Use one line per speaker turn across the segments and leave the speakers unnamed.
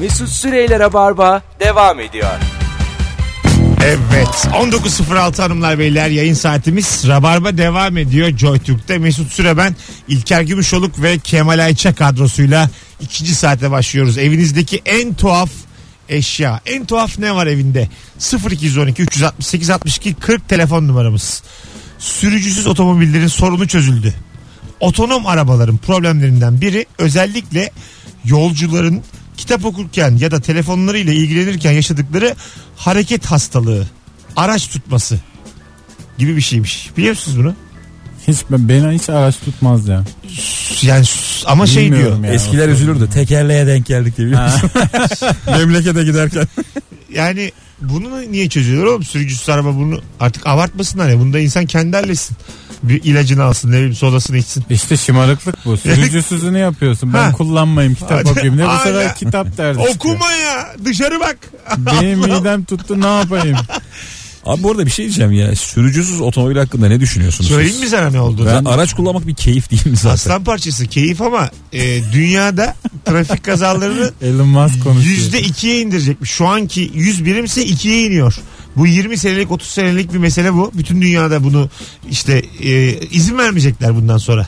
Mesut Süreyler'e barba devam ediyor.
Evet 19.06 hanımlar beyler yayın saatimiz Rabarba devam ediyor Joytürk'te Mesut Süre ben İlker Gümüşoluk ve Kemal Ayça kadrosuyla ikinci saate başlıyoruz evinizdeki en tuhaf eşya en tuhaf ne var evinde 0212 368 62 40 telefon numaramız sürücüsüz otomobillerin sorunu çözüldü otonom arabaların problemlerinden biri özellikle yolcuların kitap okurken ya da telefonlarıyla ilgilenirken yaşadıkları hareket hastalığı, araç tutması gibi bir şeymiş. Biliyor musunuz bunu?
Hiç beni hiç araç tutmaz ya.
Yani s- ama şey diyor.
Bilmiyorum ya.
Eskiler üzülürdü. Tekerleğe denk geldik diye biliyor musun? Memlekete giderken.
Yani bunu niye çözüyorlar oğlum? Sürücüsüz araba bunu artık abartmasınlar ya. Bunda insan kendi halletsin. Bir ilacını alsın, ne bileyim sodasını içsin.
İşte şımarıklık bu. Sürücüsüzünü yapıyorsun. Ben
Ha.
kullanmayayım kitap
Hadi.
okuyayım. Ne bu
Hala.
sefer kitap derdi çıkıyor.
Okuma ya. Dışarı bak.
Benim midem tuttu ne yapayım?
Abi bu arada bir şey diyeceğim ya. Sürücüsüz otomobil hakkında ne düşünüyorsunuz?
Söyleyeyim mi
siz?
sana ne olduğunu?
Ben araç kullanmak bir keyif değil mi zaten?
Aslan parçası keyif ama e, dünyada trafik kazalarını
Elon Musk konuşuyor.
Yüzde ikiye indirecekmiş. Şu anki 100 birimse ikiye iniyor. Bu 20 senelik 30 senelik bir mesele bu. Bütün dünyada bunu işte e, izin vermeyecekler bundan sonra.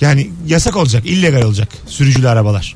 Yani yasak olacak, illegal olacak sürücülü arabalar.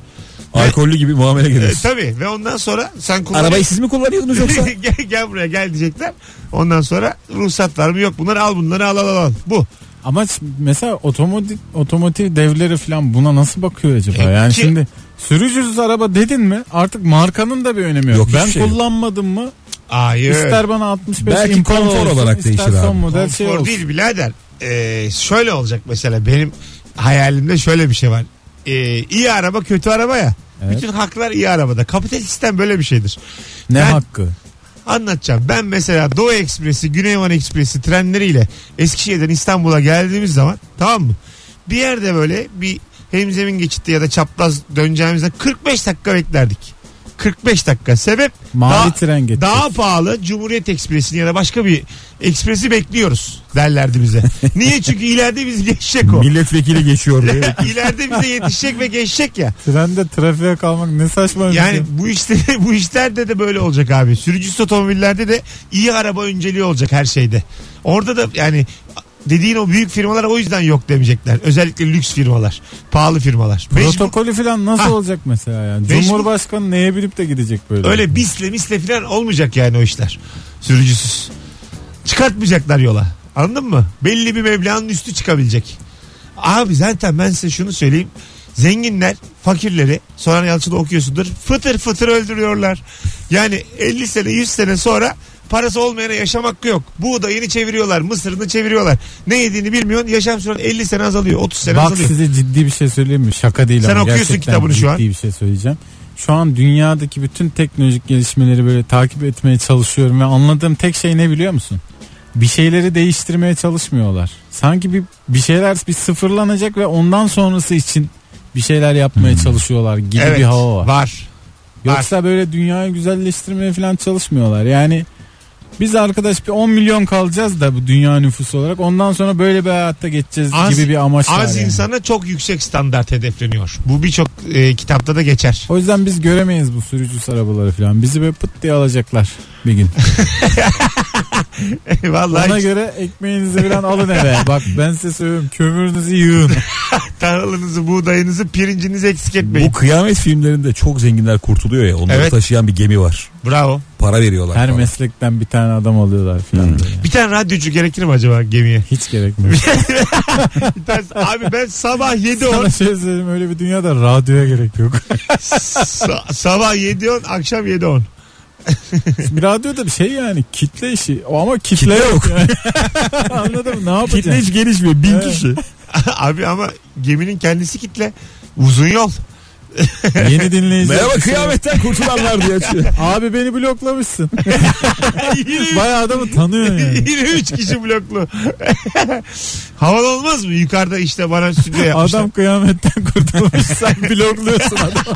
Alkollü gibi muamele
E,
geliyorsun.
tabii ve ondan sonra sen kullan-
Arabayı siz mi kullanıyordunuz yoksa?
gel, gel buraya gel diyecekler. Ondan sonra ruhsat var mı yok bunları al bunları al al al. al. Bu.
Ama ş- mesela otomotiv, otomotiv devleri falan buna nasıl bakıyor acaba?
E,
yani
ki-
şimdi sürücüsüz araba dedin mi artık markanın da bir önemi yok.
Yok, hiçbir
ben
şey yok.
kullanmadım mı
Hayır.
ister bana 65
Belki
Impala
konfor
olsun,
olarak
ister
değişir
son
abi.
model
Konfor
şey olsun.
değil birader. Ee, şöyle olacak mesela benim hayalimde şöyle bir şey var. Ee, iyi araba kötü araba ya.
Evet.
Bütün haklar iyi arabada. Kapitalist sistem böyle bir şeydir.
Ne
Ben-
hakkı?
Anlatacağım. Ben mesela Doğu Ekspresi, Güneyvan Ekspresi trenleriyle Eskişehir'den İstanbul'a geldiğimiz zaman tamam mı? Bir yerde böyle bir hemzemin geçitti ya da çapraz döneceğimizde 45 dakika beklerdik. 45 dakika. Sebep
Mavi
daha-
tren geçti.
daha pahalı Cumhuriyet Ekspresi'ni ya da başka bir ekspresi bekliyoruz derlerdi bize. Niye? Çünkü ileride biz geçecek o.
Milletvekili geçiyor.
ileride bize yetişecek ve geçecek ya.
Trende trafiğe kalmak ne saçma bir
Yani
şey.
bu işte bu işlerde de böyle olacak abi. Sürücüsüz otomobillerde de iyi araba önceliği olacak her şeyde. Orada da yani dediğin o büyük firmalar o yüzden yok demeyecekler. Özellikle lüks firmalar, pahalı firmalar. Mecbur-
Protokolü falan nasıl
Ha.
olacak mesela yani?
Mecbur-
Cumhurbaşkanı neye bilip de gidecek böyle?
Öyle bisle misle falan olmayacak yani o işler. Sürücüsüz. Çıkartmayacaklar yola. Anladın mı? Belli bir meblağın üstü çıkabilecek. Abi zaten ben size şunu söyleyeyim. Zenginler fakirleri Soran Yalçın'ı okuyorsundur. Fıtır fıtır öldürüyorlar. Yani 50 sene 100 sene sonra parası olmayana yaşam hakkı yok. Buğdayını çeviriyorlar, mısırını çeviriyorlar. Ne yediğini bilmiyorsun. Yaşam süren 50 sene azalıyor, 30 sene
Bak
azalıyor.
size ciddi bir şey söyleyeyim mi? Şaka değil
Sen
ama
okuyorsun
gerçekten
kitabını şu an.
ciddi bir şey söyleyeceğim. Şu an dünyadaki bütün teknolojik gelişmeleri böyle takip etmeye çalışıyorum ve anladığım tek şey ne biliyor musun? Bir şeyleri değiştirmeye çalışmıyorlar. Sanki bir bir şeyler bir sıfırlanacak ve ondan sonrası için bir şeyler yapmaya
Hmm.
çalışıyorlar gibi bir hava var.
var.
Yoksa böyle dünyayı güzelleştirmeye falan çalışmıyorlar. Yani biz arkadaş bir 10 milyon kalacağız da bu dünya nüfusu olarak. Ondan sonra böyle bir hayatta geçeceğiz
Az-
gibi bir amaç var.
Az
yani.
insana çok yüksek standart hedefleniyor. Bu birçok e, kitapta da geçer.
O yüzden biz göremeyiz bu sürücüsüz arabaları falan. Bizi böyle pıt diye alacaklar bir gün.
Vallahi
Ona
hiç-
göre ekmeğinizi falan alın eve. Bak ben size söylüyorum kömürünüzü yığın.
tarlanızı, buğdayınızı, pirincinizi eksik etmeyin.
Bu kıyamet filmlerinde çok zenginler kurtuluyor ya. Onları
Evet.
taşıyan bir gemi var.
Bravo.
Para veriyorlar.
Her
falan.
meslekten bir tane adam alıyorlar falan. böyle.
Bir tane radyocu gerekir mi acaba gemiye?
Hiç gerekmiyor.
Bir tane, abi ben sabah 7.10
Sana şey söyleyeyim öyle bir dünyada radyoya gerek yok.
sa- sabah 7.10 akşam 7.10.
bir radyo da bir şey yani kitle işi. O ama kitle,
Kitle
yok. yani. Anladın mı? Ne yapacaksın?
Kitle hiç gelişmiyor. Bin
Evet.
kişi.
abi ama geminin kendisi kitle. Uzun yol.
Yeni dinleyiciler.
Merhaba kıyametten kurtulanlar diye açıyor.
Abi beni bloklamışsın.
Yine-
Bayağı adamı tanıyorsun yani.
Yine 3 kişi bloklu. Havalı olmaz mı? Yukarıda işte bana stüdyo yapmışlar.
Adam kıyametten kurtulmuş sen blokluyorsun adamı.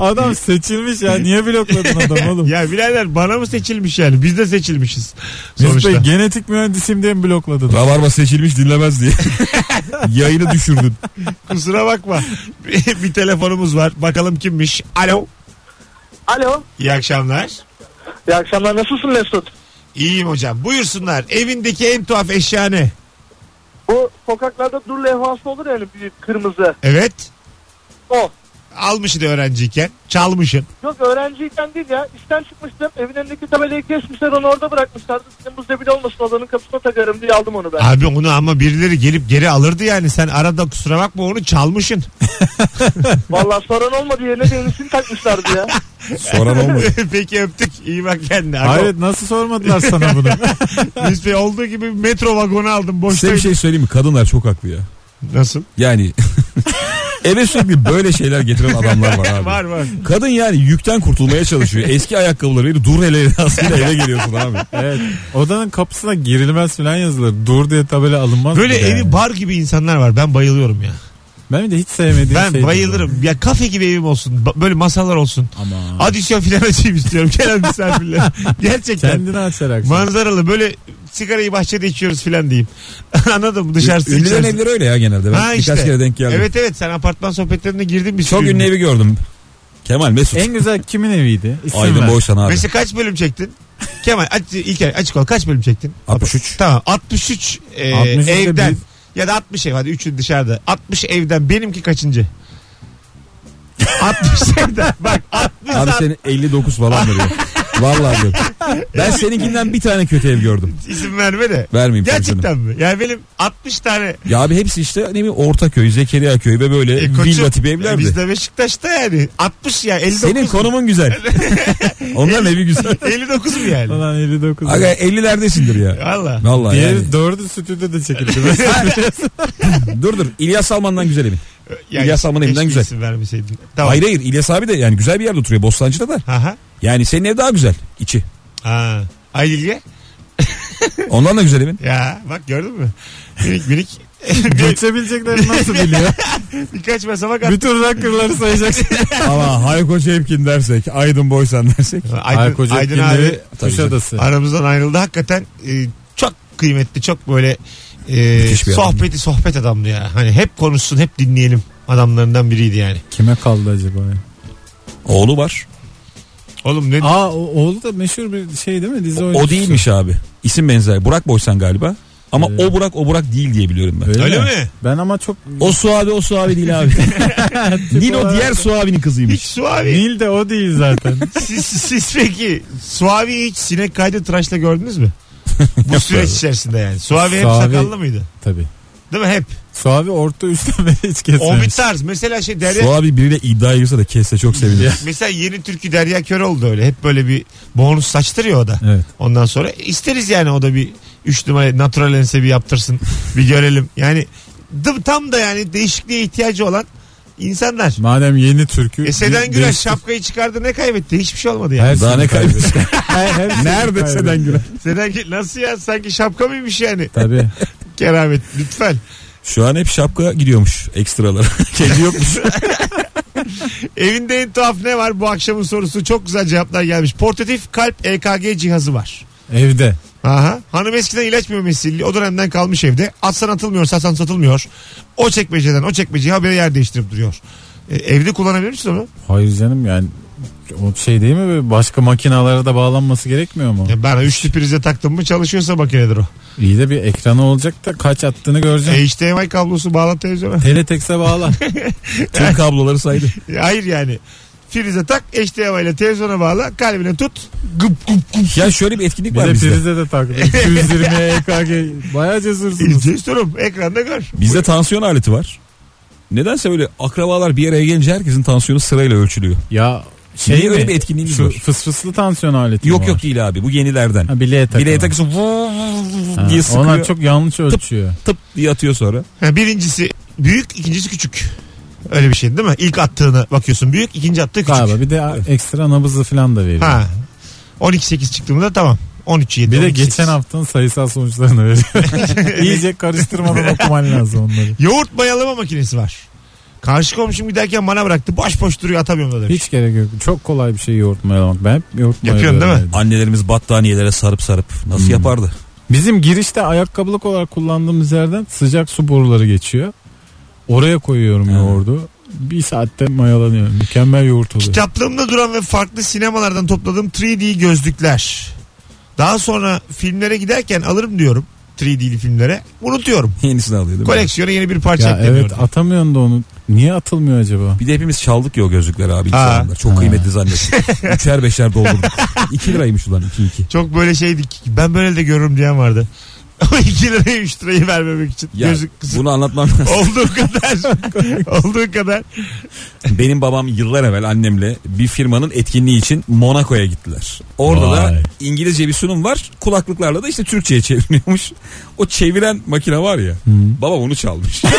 adam seçilmiş ya niye blokladın adamı oğlum?
Ya birader bana mı seçilmiş yani? Biz de seçilmişiz.
Mesut
Sonuçta.
Bey genetik mühendisiyim diye mi blokladın?
Rabarba seçilmiş dinlemez diye. Yayını düşürdün.
Kusura bakma. Bir, bir telefonumuz var. Bakalım kimmiş. Alo.
Alo.
İyi akşamlar.
İyi akşamlar. Nasılsın Mesut?
İyiyim hocam. Buyursunlar. Evindeki en tuhaf eşya ne?
Bu sokaklarda dur levhası olur yani büyük kırmızı.
Evet.
O.
Almışsın öğrenciyken. Çalmışsın.
Yok öğrenciyken değil ya. İşten çıkmıştım. Evin önündeki tabelayı kesmişler onu orada bırakmışlardı. Sizin bu zebil olmasın odanın kapısına takarım diye aldım onu ben.
Abi onu ama birileri gelip geri alırdı yani. Sen arada kusura bakma onu çalmışsın.
Vallahi soran olmadı yerine de yenisini takmışlardı ya.
Soran olmadı.
Peki öptük. İyi bak kendine. Hayır.
Hayret nasıl sormadılar sana bunu?
Biz bir olduğu gibi metro vagonu aldım.
Size
Boşta.
bir şey söyleyeyim mi? Kadınlar çok haklı ya.
Nasıl?
Yani eve sürekli böyle şeyler getiren adamlar var abi.
Var var.
Kadın yani yükten kurtulmaya çalışıyor. Eski ayakkabılarıyla dur hele aslında eve geliyorsun abi.
evet. Odanın kapısına girilmez falan yazılır. Dur diye tabela alınmaz.
Böyle
bir de
evi
yani.
bar gibi insanlar var. Ben bayılıyorum ya.
Ben bir de hiç sevmediğim şey
Ben
şeydir
bayılırım. Ya kafe gibi evim olsun. Ba- Böyle masalar olsun.
bu. Ama
Adisyon filan açayım istiyorum. Gelen misafirler. Gerçekten.
kendini açarak.
Manzaralı böyle sigarayı bahçede içiyoruz filan diyeyim. Anladın mı? Dışarısı
Ünlülerin
içerisi.
evleri öyle ya genelde. Ben
Ha
birkaç
işte.
kere denk geldim.
Evet evet sen apartman sohbetlerine girdin bir
Çok
sürü
ünlü evi gördüm. Kemal Mesut.
en güzel kimin eviydi? İsim
Aydın
ver.
Boysan abi.
Mesela kaç bölüm çektin? Kemal aç, İlker açık ol kaç bölüm çektin?
63.
Tamam 63 e,
63 de
evden
bir-
ya da 60 ev hadi 3'ü dışarıda. 60 evden benimki kaçıncı? 60 evden bak 60
Abi senin 59 falan veriyor. Vallahi diyor. Ben seninkinden bir tane kötü ev gördüm.
isim verme de.
Vermeyeyim
Gerçekten mi? Yani benim 60 tane
Ya abi hepsi işte hani bir Ortaköy, Zekeriya Köyü ve böyle
e,
villa tipi evlerdi.
Biz de Beşiktaş'ta yani. 60 ya 59.
Senin konumun güzel. Onların evi güzel.
E, 59 mu yani?
Falan 59.
Aga 50'lerdesindir ya.
Valla.
Vallahi
Diğeri
yani.
dördü stüdyoda da çekildi.
Dur dur İlyas Alman'dan güzel evin.
Ya
İlyas Salman'ın evinden
keşke
güzel.
isim vermeseydin. Tamam.
Hayır hayır İlyas abi de yani güzel bir yerde oturuyor Bostancı'da da.
Aha.
Yani senin ev daha güzel içi.
Ha. Ay Lilye.
Ondan da güzel evin.
Ya bak gördün mü? Minik minik. bir,
Geçebileceklerini nasıl biliyor?
birkaç basamak attı.
Bütün rakırları sayacaksın.
Ama Hayko Cepkin dersek, Aydın Boysan dersek.
Ay
Aydın,
koca
Aydın
Aydın
abi
Kuşadası.
aramızdan ayrıldı. Hakikaten e, çok kıymetli, çok böyle e,
Müthiş bir adam.
sohbeti sohbet adamdı ya. Hani hep konuşsun, hep dinleyelim adamlarından biriydi yani.
Kime kaldı acaba? ya?
Oğlu var.
Oğlum ne
Aa o- oğlu da meşhur bir şey değil mi? Dizi
O,
oyuncusu.
o değilmiş abi. İsim benzer. Burak Boysan galiba. Ama
Evet.
o Burak o Burak değil diye biliyorum ben.
Öyle,
öyle
mi?
mi?
Ben ama çok
O su abi o su abi değil abi. Nino diğer su abinin
Hiç
kızıymış.
Suavi.
Nil de o değil zaten.
siz, siz peki Suavi hiç sinek kaydı tıraşla gördünüz mü? Bu süreç içerisinde yani. Suavi hep
Suavi-
sakallı mıydı?
Tabii.
Değil mi? Hep.
Suavi orta üstten beri hiç
O bir
kesmemiş.
tarz. Mesela şey Derya
Su abi biriyle iddia girse de kesse çok sevinirim.
Mesela yeni türkü Derya Kör oldu öyle. Hep böyle bir bonus saçtırıyor o da.
Evet.
Ondan sonra isteriz yani o da bir 3 numara natural ense bir yaptırsın. bir görelim. Yani dı- tam da yani değişikliğe ihtiyacı olan insanlar.
Madem yeni türkü.
E Seden
bir-
Güler
değişti.
şapkayı çıkardı ne kaybetti? Hiçbir şey olmadı yani.
Her
Daha
şeyi
ne
kaybetti.
kaybedecek?
Her- her şeyi
Nerede
kaybetti.
Seden Güler?
Seden Gü- nasıl ya? Sanki şapka mıymış yani?
Tabii.
Keramet lütfen.
Şu an hep şapka gidiyormuş ekstralara. Kendi yokmuş.
Evinde en tuhaf ne var bu akşamın sorusu? Çok güzel cevaplar gelmiş. Portatif kalp EKG cihazı var.
Evde.
Aha. Hanım eskiden ilaç mümessilliği o dönemden kalmış evde. Atsan atılmıyor, satsan satılmıyor. O çekmeceden o çekmeceye habire yer değiştirip duruyor. E, evde kullanabilir misin onu?
Hayır canım yani o şey değil mi? Böyle Başka makinalara da bağlanması gerekmiyor mu?
E, ben üçlü prize taktım mı çalışıyorsa makinedir o.
İyi de bir ekranı olacak da kaç attığını göreceksin.
HDMI kablosu bağlan televizyona.
Teletex'e bağla.
Tüm kabloları saydı.
E, Hayır yani. Prize tak, HDMI ile televizyona bağla, kalbine tut. Gıp gıp gıp.
Ya şöyle bir etkinlik
Bir
var
de
bizde.
prize de taktı. 220 EKG. E Bayağı cesursunuz.
İlginç durum. Ekranda gör.
Bizde tansiyon aleti var. Nedense böyle akrabalar bir araya gelince herkesin tansiyonu sırayla ölçülüyor.
Ya şey
Niye
mi?
öyle bir etkinliğimiz
Şu
var?
fısfıslı tansiyon aleti mi
Yok
var?
yok değil abi bu yenilerden.
Ha, bileğe takılan.
Bileğe takıyorsun vuv vuv
Ha,
vuv diye sıkıyor.
Onlar çok yanlış ölçüyor.
tıp diye atıyor sonra.
Ha, E, birincisi büyük, ikincisi küçük. Öyle bir şey değil mi? İlk attığına bakıyorsun büyük, ikinci attığı küçük.
Galiba bir de a- ekstra nabızı falan da veriyor.
Ha. 12-8 çıktığımda tamam. 13-7.
Bir de
12-8.
geçen haftanın sayısal sonuçlarını veriyor. İyice karıştırmadan okuman lazım onları.
Yoğurt mayalama makinesi var. Karşı komşum giderken bana bıraktı. Boş boş duruyor atamıyorum da demiş.
Hiç gerek yok. Çok kolay bir şey yoğurt mayalamak. Ben hep yoğurt
Yapıyorsun değil mi?
mayalıyorum evde.
Annelerimiz battaniyelere sarıp sarıp nasıl yapardı?
Bizim girişte ayakkabılık olarak kullandığımız yerden sıcak su boruları geçiyor. Oraya koyuyorum yoğurdu. Bir saatte mayalanıyor. Mükemmel yoğurt oluyor.
Kitaplığımda duran ve farklı sinemalardan topladığım 3D gözlükler. Daha sonra filmlere giderken alırım diyorum 3D'li filmlere. Unutuyorum.
Yenisini alıyor değil mi?
Koleksiyona yeni bir parça
Ya
ekleniyor.
evet atamıyorsun da onu. Niye atılmıyor acaba?
Bir de hepimiz çaldık ya o gözlükleri abi. ilk
Ha.
zamanlar. Çok kıymetli zannettik. Üçer beşer doldurduk. 2 liraymış ulan 2 2.
Çok böyle şeydik. Ben böyle de görürüm diyen vardı. O 2 liraya 3 lirayı vermemek için.
Ya
Gözlük
bunu anlatmam lazım.
Olduğu kadar. olduğu kadar.
Benim babam yıllar evvel annemle bir firmanın etkinliği için Monaco'ya gittiler. Orada
Vay.
da İngilizce bir sunum var. Kulaklıklarla da işte Türkçe'ye çevriliyormuş. O çeviren makine var ya. Baba onu çalmış.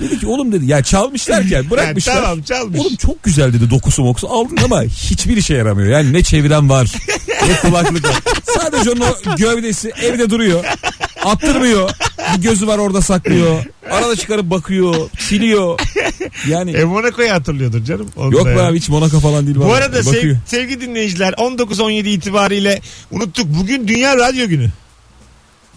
dedi ki oğlum dedi ya çalmışlar ki yani bırakmışlar.
Yani tamam çalmış.
Oğlum çok güzel dedi dokusu mokusu aldın ama hiçbir işe yaramıyor. Yani ne çeviren var ne kulaklık var. Sadece onun o gövdesi evde duruyor. Attırmıyor. Bir gözü var orada saklıyor. Arada çıkarıp bakıyor. Siliyor. Yani
E Monaco'yu hatırlıyordur canım. Onu
yok
da
be
ya.
abi hiç Monaco falan değil.
Bu
vallahi.
arada şey,
Bakıyor.
sev, sevgili dinleyiciler 19-17 itibariyle unuttuk. Bugün Dünya Radyo Günü.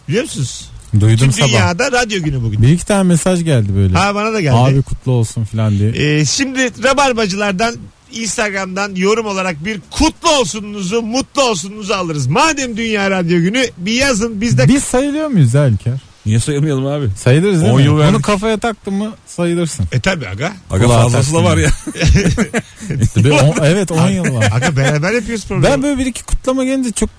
Biliyor musunuz?
Duydum
Tüm
sabah.
dünyada radyo günü bugün.
Bir iki tane mesaj geldi böyle.
Ha bana da geldi.
Abi kutlu olsun falan diye.
Ee, şimdi Rabarbacılardan Instagram'dan yorum olarak bir kutlu olsununuzu, mutlu olsununuzu alırız. Madem Dünya Radyo Günü bir yazın biz de
Biz sayılıyor muyuz ya İlker?
Niye sayılmayalım abi?
Sayılırız değil
On
mi?
yıl verdik.
Onu kafaya taktın mı sayılırsın.
E tabi aga.
Aga
Kulağa
fazlası da
taksın
var ya.
Bir on- evet 10 yıl var.
Aga beraber yapıyoruz programı.
Ben böyle bir iki kutlama gelince çok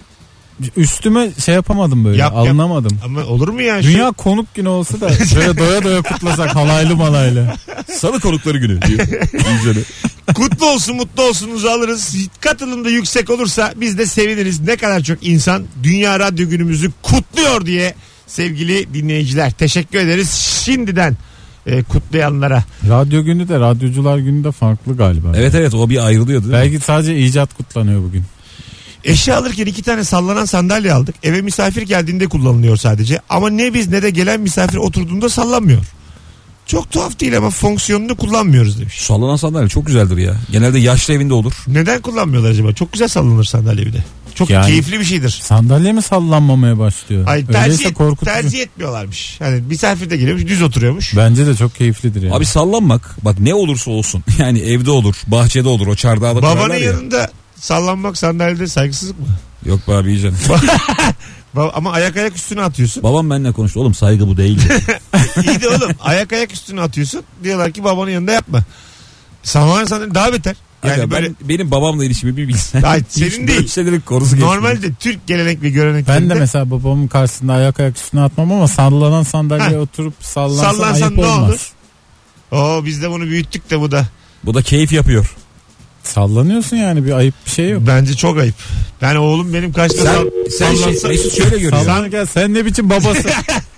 üstüme şey yapamadım böyle
Yap, yap.
alınamadım.
Ama olur mu ya? Şu-
Dünya konuk günü olsa da şöyle doya doya kutlasak halaylı malaylı.
Salı konukları günü diyor. Güzel.
Kutlu olsun mutlu olsunuzu alırız. Katılım da yüksek olursa biz de seviniriz. Ne kadar çok insan Dünya Radyo Günümüzü kutluyor diye sevgili dinleyiciler. Teşekkür ederiz şimdiden e, kutlayanlara.
Radyo günü de radyocular günü de farklı galiba.
Evet evet o bir ayrılıyordu değil mi?
Belki sadece icat kutlanıyor bugün.
Eşya alırken iki tane sallanan sandalye aldık. Eve misafir geldiğinde kullanılıyor sadece. Ama ne biz ne de gelen misafir oturduğunda sallanmıyor. Çok tuhaf değil ama fonksiyonunu kullanmıyoruz demiş.
Sallanan sandalye çok güzeldir ya. Genelde yaşlı evinde olur.
Neden kullanmıyorlar acaba? Çok güzel sallanır sandalye bir de. Çok
Yani-
keyifli bir şeydir.
Sandalye mi sallanmamaya başlıyor?
Ay, tercih,
Öyleyse
et-
korkutucu.
tercih etmiyorlarmış. Yani misafir de geliyormuş düz oturuyormuş.
Bence de çok keyiflidir yani.
Abi sallanmak bak ne olursa olsun. Yani evde olur, bahçede olur, o çardağa da
Babanın
koyarlar ya.
yanında sallanmak sandalyede saygısızlık mı?
Yok be abi iyice.
Ba- Ama ayak ayak üstüne atıyorsun.
Babam benimle konuştu. Oğlum saygı bu değil.
İyi de oğlum ayak ayak üstüne atıyorsun. Diyorlar ki babanın yanında yapma. Sallanan sandalye daha beter. Yani
Aga,
böyle
ben, benim babamla ilişkimi bir bilsen.
Hayır,
Hiç
senin
böyle
değil.
şeylerin konusu geçmiyor.
normalde Türk gelenek ve göreneklerinde
ben de mesela babamın karşısında ayak ayak üstüne atmam ama sallanan sandalyeye
Ha.
oturup sallansa
Sallansan
ayıp
ne
olmaz.
olur? Oo biz de bunu büyüttük de bu da.
Bu da keyif yapıyor.
Sallanıyorsun yani bir ayıp bir şey yok.
Bence çok ayıp. Yani oğlum benim kaçta sal-
Sen şey,
sallansa-
Mesut şöyle görüyor.
Sallanırken sen ne biçim babası?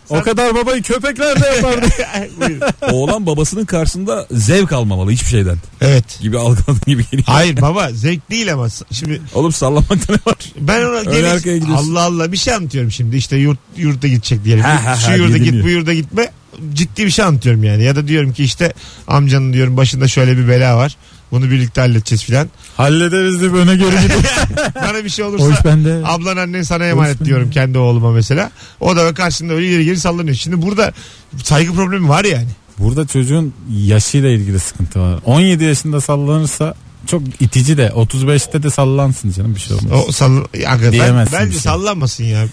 o kadar babayı köpekler de yapardı.
Buyurun.
Oğlan babasının karşısında zevk almamalı hiçbir şeyden.
Evet.
Gibi algıladığın gibi geliyor.
Hayır baba zevk değil ama şimdi
Oğlum sallamakta ne var?
ben ona
Öyle arkaya
gelin
gidiyorsun.
Allah Allah bir şey anlatıyorum şimdi işte yurt yurda gidecek diyelim.
Ha, ha,
Şu
ha,
yurda
dinliyor.
git bu yurda gitme ciddi bir şey anlatıyorum yani ya da diyorum ki işte amcanın diyorum başında şöyle bir bela var bunu birlikte halledeceğiz filan.
Hallederiz diye öne geri gidiyor.
Bana bir şey
O
olursa
iş bende.
Ablan annen sana
Hoş
emanet
ben
diyorum kendi oğluma mesela. O da karşında öyle ileri geri sallanıyor. Şimdi burada saygı problemi var yani.
Burada çocuğun yaşıyla ilgili sıkıntı var. 17 yaşında sallanırsa çok itici de 35'te de sallansın canım bir şey olmaz.
O sall Ya ben-
Diyemezsin
bence
bir şey.
sallanmasın ya.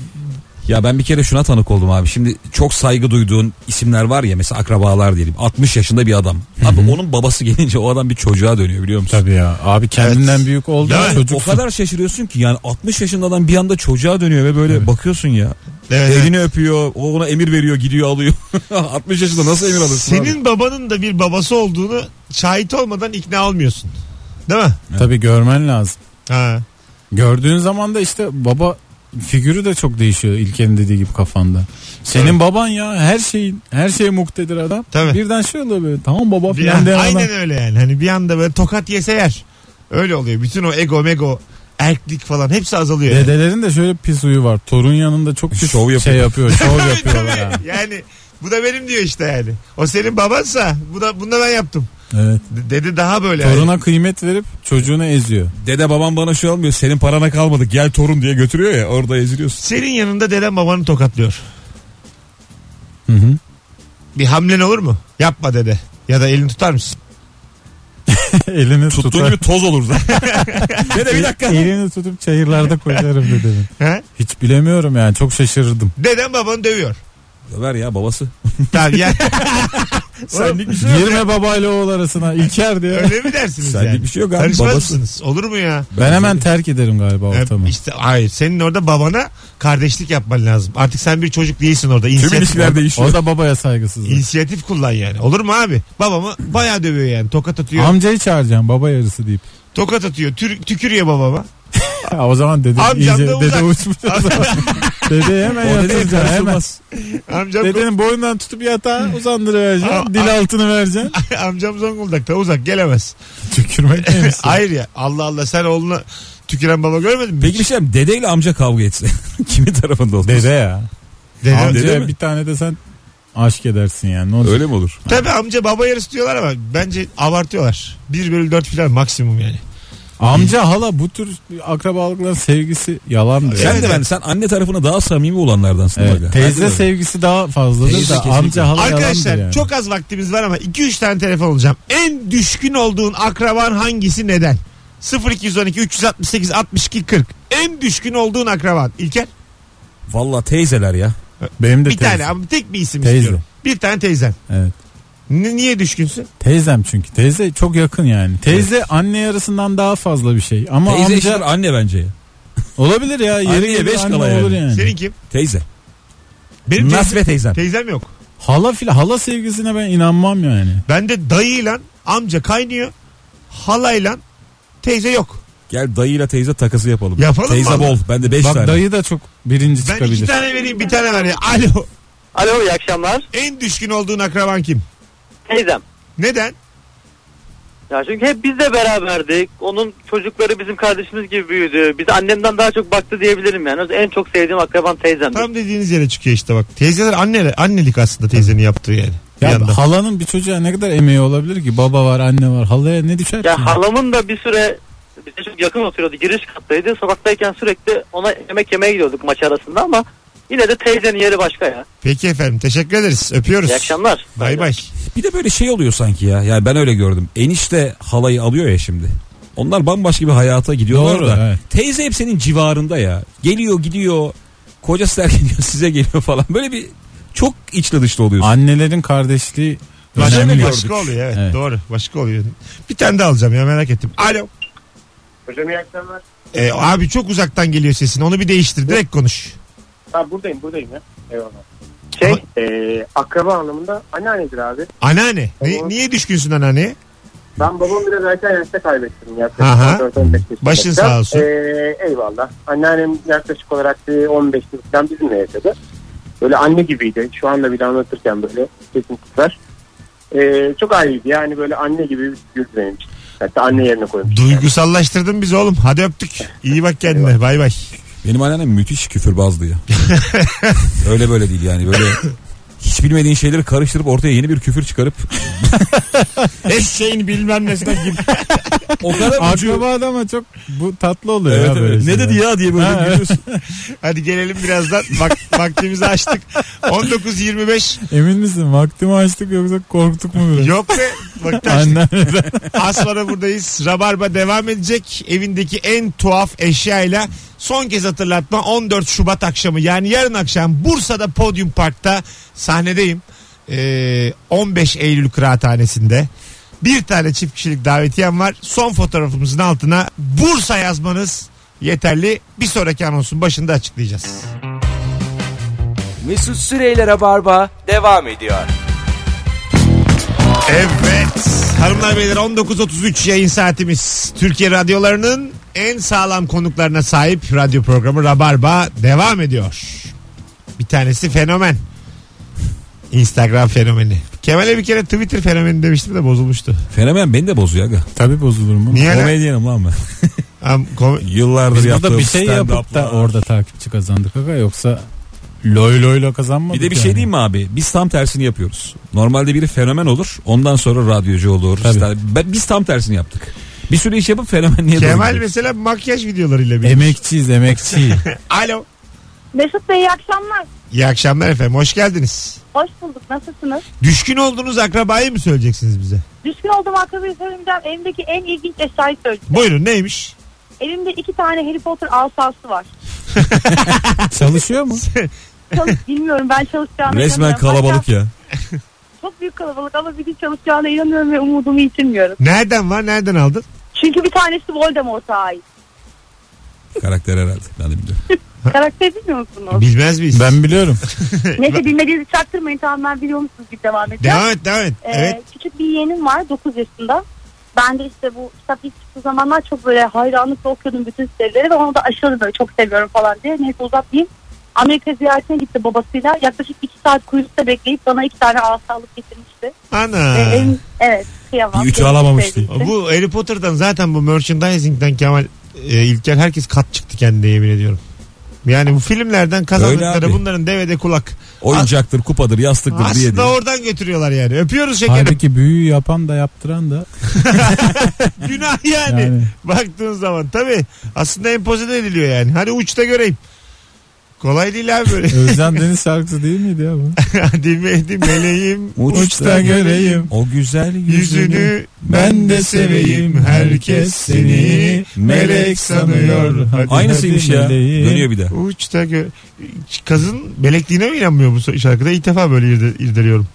Ya ben bir kere şuna tanık oldum abi. Şimdi çok saygı duyduğun isimler var ya mesela akrabalar diyelim. 60 yaşında bir adam. Abi onun babası gelince o adam bir çocuğa dönüyor biliyor musun?
Tabii ya abi kendinden
Evet.
büyük oldu
Ya,
çocuk.
O kadar şaşırıyorsun ki yani 60 yaşında adam bir anda çocuğa dönüyor ve böyle bakıyorsun ya.
Evet, evet.
Elini öpüyor, o ona emir veriyor, gidiyor alıyor. 60 yaşında nasıl emir alırsın abi?
Senin babanın da bir babası olduğunu şahit olmadan ikna olmuyorsun. Değil mi?
Tabii görmen lazım.
Ha.
Gördüğün zaman da işte baba figürü de çok değişiyor İlker'in dediği gibi kafanda. Senin
Tabii.
baban ya her şeyin her şeye muktedir adam.
Tabii.
Birden şey oluyor böyle tamam baba
Bir
filan
an-
diyen adam.
aynen öyle yani. Hani bir anda böyle tokat yese yer. Öyle oluyor. Bütün o ego mego erklik falan hepsi azalıyor. yani.
Dedelerin de şöyle pis huyu var. Torun yanında çok pis
Şov yapıyor.
şey yapıyor. Şov
Tabii,
yapıyorlar
tabii.
yani.
yani bu da benim diyor işte yani. O senin babansa bu da bunu da ben yaptım.
Evet.
D- Dede daha böyle.
Toruna kıymet verip çocuğunu eziyor.
Dede babam bana şu almıyor senin parana kalmadık gel torun diye götürüyor ya orada eziliyorsun.
Senin yanında deden babanı tokatlıyor.
Hı hı.
Bir hamlen olur mu? Yapma dede. Ya da elini tutar mısın?
Elini
Tuttuğun
tutar.
gibi toz olur da. dede bir dakika.
Elini tutup çayırlarda koyarım dedim.
He?
Hiç bilemiyorum yani çok şaşırırdım.
Deden babanı dövüyor.
Ver ya babası.
Tabii ya. Senlik bir şey yok.
Girme babayla oğul arasına İlker diye.
Öyle mi dersiniz
Senlik
yani?
bir şey yok abi,
Karışmaz
babası.
mısınız? Olur mu ya?
Ben hemen terk ederim galiba ortamı.
Ee, işte hayır senin orada babana kardeşlik yapman lazım. Artık sen bir çocuk değilsin orada.
Tüm
şey
İnisiyatif,
ilişkiler değişiyor.
Orada babaya saygısızlık.
İnisiyatif kullan yani. Olur mu abi? Babamı bayağı dövüyor yani. Tokat atıyor.
Amcayı çağıracağım baba yarısı deyip.
tokat atıyor. Tür- tükürüyor babama.
Ha, o zaman dede
Amcam da
iyice
uzak.
dede uçmuş. o zaman. dede hemen
O dede
yatıracaksın hemen.
karışılmaz.
Amcam,
Dedenin boynundan tutup yatağa
Aa,
uzandıracaksın. Dil altını vereceksin.
amcam Zonguldak'ta uzak gelemez.
Tükürmek neymiş?
Hayır ya. Allah Allah sen oğluna tüküren baba görmedin mi?
Peki bir şey diyeyim, dedeyle amca kavga etse kimin tarafında olur?
Dede ya.
Dede-
Amcaya
dede mi?
bir tane de sen aşk edersin yani. Ne olacak?
Öyle mi olur?
Tabii amca baba yarısı diyorlar ama bence abartıyorlar. 1 bölü 4 falan maksimum yani.
Amca hala bu tür akrabalıkların sevgisi yalandır.
Sen
Yani.
de ben sen anne tarafına daha samimi olanlardansın.
Evet,
Aga.
teyze
Hadi
sevgisi daha fazladır
Teyze
da
kesinlikle.
amca hala
Arkadaşlar
yalandır yani.
çok az vaktimiz var ama 2-3 tane telefon alacağım. En düşkün olduğun akraban hangisi neden? 0212 368 62 40. En düşkün olduğun akraban. İlker
Valla teyzeler ya.
Benim de
bir
teyze.
tane ama tek bir isim
Teyze.
istiyorum. Bir tane teyzen.
Evet.
N- niye düşkünsün?
Teyzem çünkü. Teyze çok yakın yani. Teyze anne yarısından daha fazla bir şey. Ama
Teyze
amca
eşittir anne bence.
olabilir ya. Yeri
Anneye
geliyor
beş
anne
kala yani.
olur yani.
Senin kim?
Teyze.
Benim teyzem,
Nasve teyzem.
teyzem yok.
Hala fil hala sevgisine ben inanmam yani.
Bende dayıyla amca kaynıyor. Halayla teyze yok.
Gel dayıyla teyze takası yapalım.
Yapalım
teyze
mı?
bol. Ben de 5
Bak
tane.
dayı da çok birinci
Ben
çıkabilir.
iki tane vereyim bir tane ver. ya. Alo.
Alo iyi akşamlar.
En düşkün olduğun akraban kim?
Teyzem.
Neden?
Ya çünkü hep bizle beraberdik. Onun çocukları bizim kardeşimiz gibi büyüdü. Bizi annemden daha çok baktı diyebilirim yani. O En çok sevdiğim akraban teyzemdir.
Tam dediğiniz yere çıkıyor işte bak. Teyzeler anneler, annelik aslında teyzenin yaptığı yani. Bir
Ya
yandan.
halanın bir çocuğa ne kadar emeği olabilir ki? Baba var, anne var. Halaya ne düşer ki?
Ya halamın da bir süre bize çok yakın oturuyordu. Giriş kattaydı. Sokaktayken sürekli ona yemek yemeye gidiyorduk maç arasında ama yine de teyzenin yeri başka ya.
Peki efendim teşekkür ederiz. Öpüyoruz.
İyi akşamlar.
Bay bay.
Bir de böyle şey oluyor sanki ya. Yani ben öyle gördüm. Enişte halayı alıyor ya şimdi. Onlar bambaşka bir hayata gidiyorlar
Doğru,
da.
evet.
Teyze hep senin civarında ya. Geliyor gidiyor. Kocası terk ediyor size geliyor falan. Böyle bir çok içli dışlı oluyorsun.
Annelerin kardeşliği
Başka,
önemli.
başka oluyor evet,
Evet.
doğru başka oluyor. Bir tane daha alacağım ya merak ettim. Alo.
Hocam iyi akşamlar.
Ee, abi çok uzaktan geliyor sesin onu bir değiştir direkt konuş.
Ha, buradayım buradayım ya. Eyvallah.
Şey,
Ee, akraba anlamında anneannedir abi.
Anneanne ni-
Tamam.
niye düşkünsün anneanneye?
Ben babamı biraz erken yaşta kaybettim. Yaklaşık
Aha.
14-15 yaşında.
Başın sağ olsun.
Ee, eyvallah. Anneannem yaklaşık olarak bir 15 yıl falan bizimle yaşadı. Böyle anne gibiydi. Şu anda bile anlatırken böyle kesin tutar. Ee, çok ayrıydı yani böyle anne gibi bir figür benim için. Hatta anne yerine koymuş.
Duygusallaştırdın bizi oğlum hadi öptük. İyi bak kendine bay bay.
Benim anneannem müthiş küfürbazdı ya. öyle böyle değil yani. Böyle hiç bilmediğin şeyleri karıştırıp ortaya yeni bir küfür çıkarıp
Eşeğin bilmem nesine gibi.
o kadar ucu-
Akraba ama çok bu tatlı oluyor
Evet,
ya
evet.
böyle
Ne
şeyler.
dedi ya diye böyle
Ha,
gülüyorsun.
Hadi gelelim birazdan Vak- vaktimizi açtık. 19.25
Emin misin? Vaktimi açtık yoksa korktuk mu biraz?
yok be vakti açtık.
Annem
Az sonra buradayız. Rabarba devam edecek. Evindeki en tuhaf eşyayla son kez hatırlatma 14 Şubat akşamı yani yarın akşam Bursa'da Podium Park'ta sahnedeyim. Ee, 15 Eylül Kıraathanesi'nde. Bir tane çift kişilik davetiyem var. Son fotoğrafımızın altına Bursa yazmanız yeterli. Bir sonraki anonsun başında açıklayacağız.
Mesut Süreyler'e barba devam ediyor.
Evet. Hanımlar beyler 19.33 yayın saatimiz. Türkiye radyolarının en sağlam konuklarına sahip radyo programı Rabarba devam ediyor. Bir tanesi fenomen. Instagram fenomeni. Kemal'e bir kere Twitter fenomeni demiştim de bozulmuştu.
Fenomen beni de bozuyor aga.
tabi bozulur mu?
Niye lan?
Komedyenim lan ben.
Am- kom-
Yıllardır
Biz
yaptığım
burada bir şey yapıp
stand-up'lar.
da orada takipçi kazandık aga yoksa Loy loyla kazanmadık.
Bir de bir şey
yani.
diyeyim mi abi? Biz tam tersini yapıyoruz. Normalde biri fenomen olur. Ondan sonra radyocu olur.
Tabii.
star- Ben- Biz tam tersini yaptık. Bir sürü iş yapıp fenomenliğe doğru
Kemal
gidiyoruz.
mesela makyaj videolarıyla bilir.
Emekçiyiz emekçi.
Alo.
Mesut Bey iyi akşamlar.
İyi akşamlar efendim. Hoş geldiniz.
Hoş bulduk. Nasılsınız?
Düşkün olduğunuz akrabayı mı söyleyeceksiniz bize?
Düşkün olduğum akrabayı söylemeyeceğim. Elimdeki en ilginç eşyayı söyleyeceğim.
Buyurun neymiş?
Elimde iki tane Harry Potter asası var.
Çalışıyor mu?
Çalış, bilmiyorum ben çalışacağına
Resmen
inanıyorum.
kalabalık
Hatta
ya.
Çok büyük kalabalık ama bir gün çalışacağına inanıyorum ve umudumu yitirmiyorum.
Nereden var? Nereden aldın?
Çünkü bir tanesi Voldemort'a ait.
Karakter herhalde. Ben de biliyorum.
Karakter bilmiyor musunuz?
Bilmez miyiz?
Ben biliyorum.
Neyse bilmediğinizi çaktırmayın tamam ben biliyor musunuz gibi devam edeceğim.
Devam et devam et.
Ee,
Evet.
Küçük bir yeğenim var 9 yaşında. Ben de işte bu kitap ilk çıktığı zamanlar çok böyle hayranlıkla okuyordum bütün serileri ve onu da aşırı böyle çok seviyorum falan diye. Neyse uzatmayayım. Amerika ziyaretine gitti babasıyla. Yaklaşık 2 saat kuyrukta bekleyip bana 2 tane asalık getirmişti.
Ana.
Ve E, en- evet kıyamam.
Bir ütü
Benim
alamamıştı.
sevdiğimdi.
Bu Harry Potter'dan zaten bu merchandising'den Kemal e, İlker herkes kat çıktı kendine yemin ediyorum. Yani bu filmlerden
Öyle
kazandıkları
abi.
bunların devede kulak.
Oyuncaktır, kupadır, yastıktır diye diye.
Aslında oradan götürüyorlar yani. Öpüyoruz şekerim.
Halbuki büyüyü yapan da yaptıran da.
Günah yani.
Yani.
Baktığın zaman tabii aslında empoze de ediliyor yani. Hani uçta göreyim. Kolay değil abi böyle.
Özlem Deniz şarkısı değil miydi ya bu?
Dimedi meleğim
Uçta
uçta göreyim.
O güzel yüzünü.
Yüzünü ben de seveyim herkes seni melek sanıyor. Hadi.
Aynısıymış ya.
Meleğim.
Dönüyor bir de.
Uçta gö... Kızın melekliğine mi inanmıyor bu şarkıda? İlk defa böyle irde- irdeliyorum.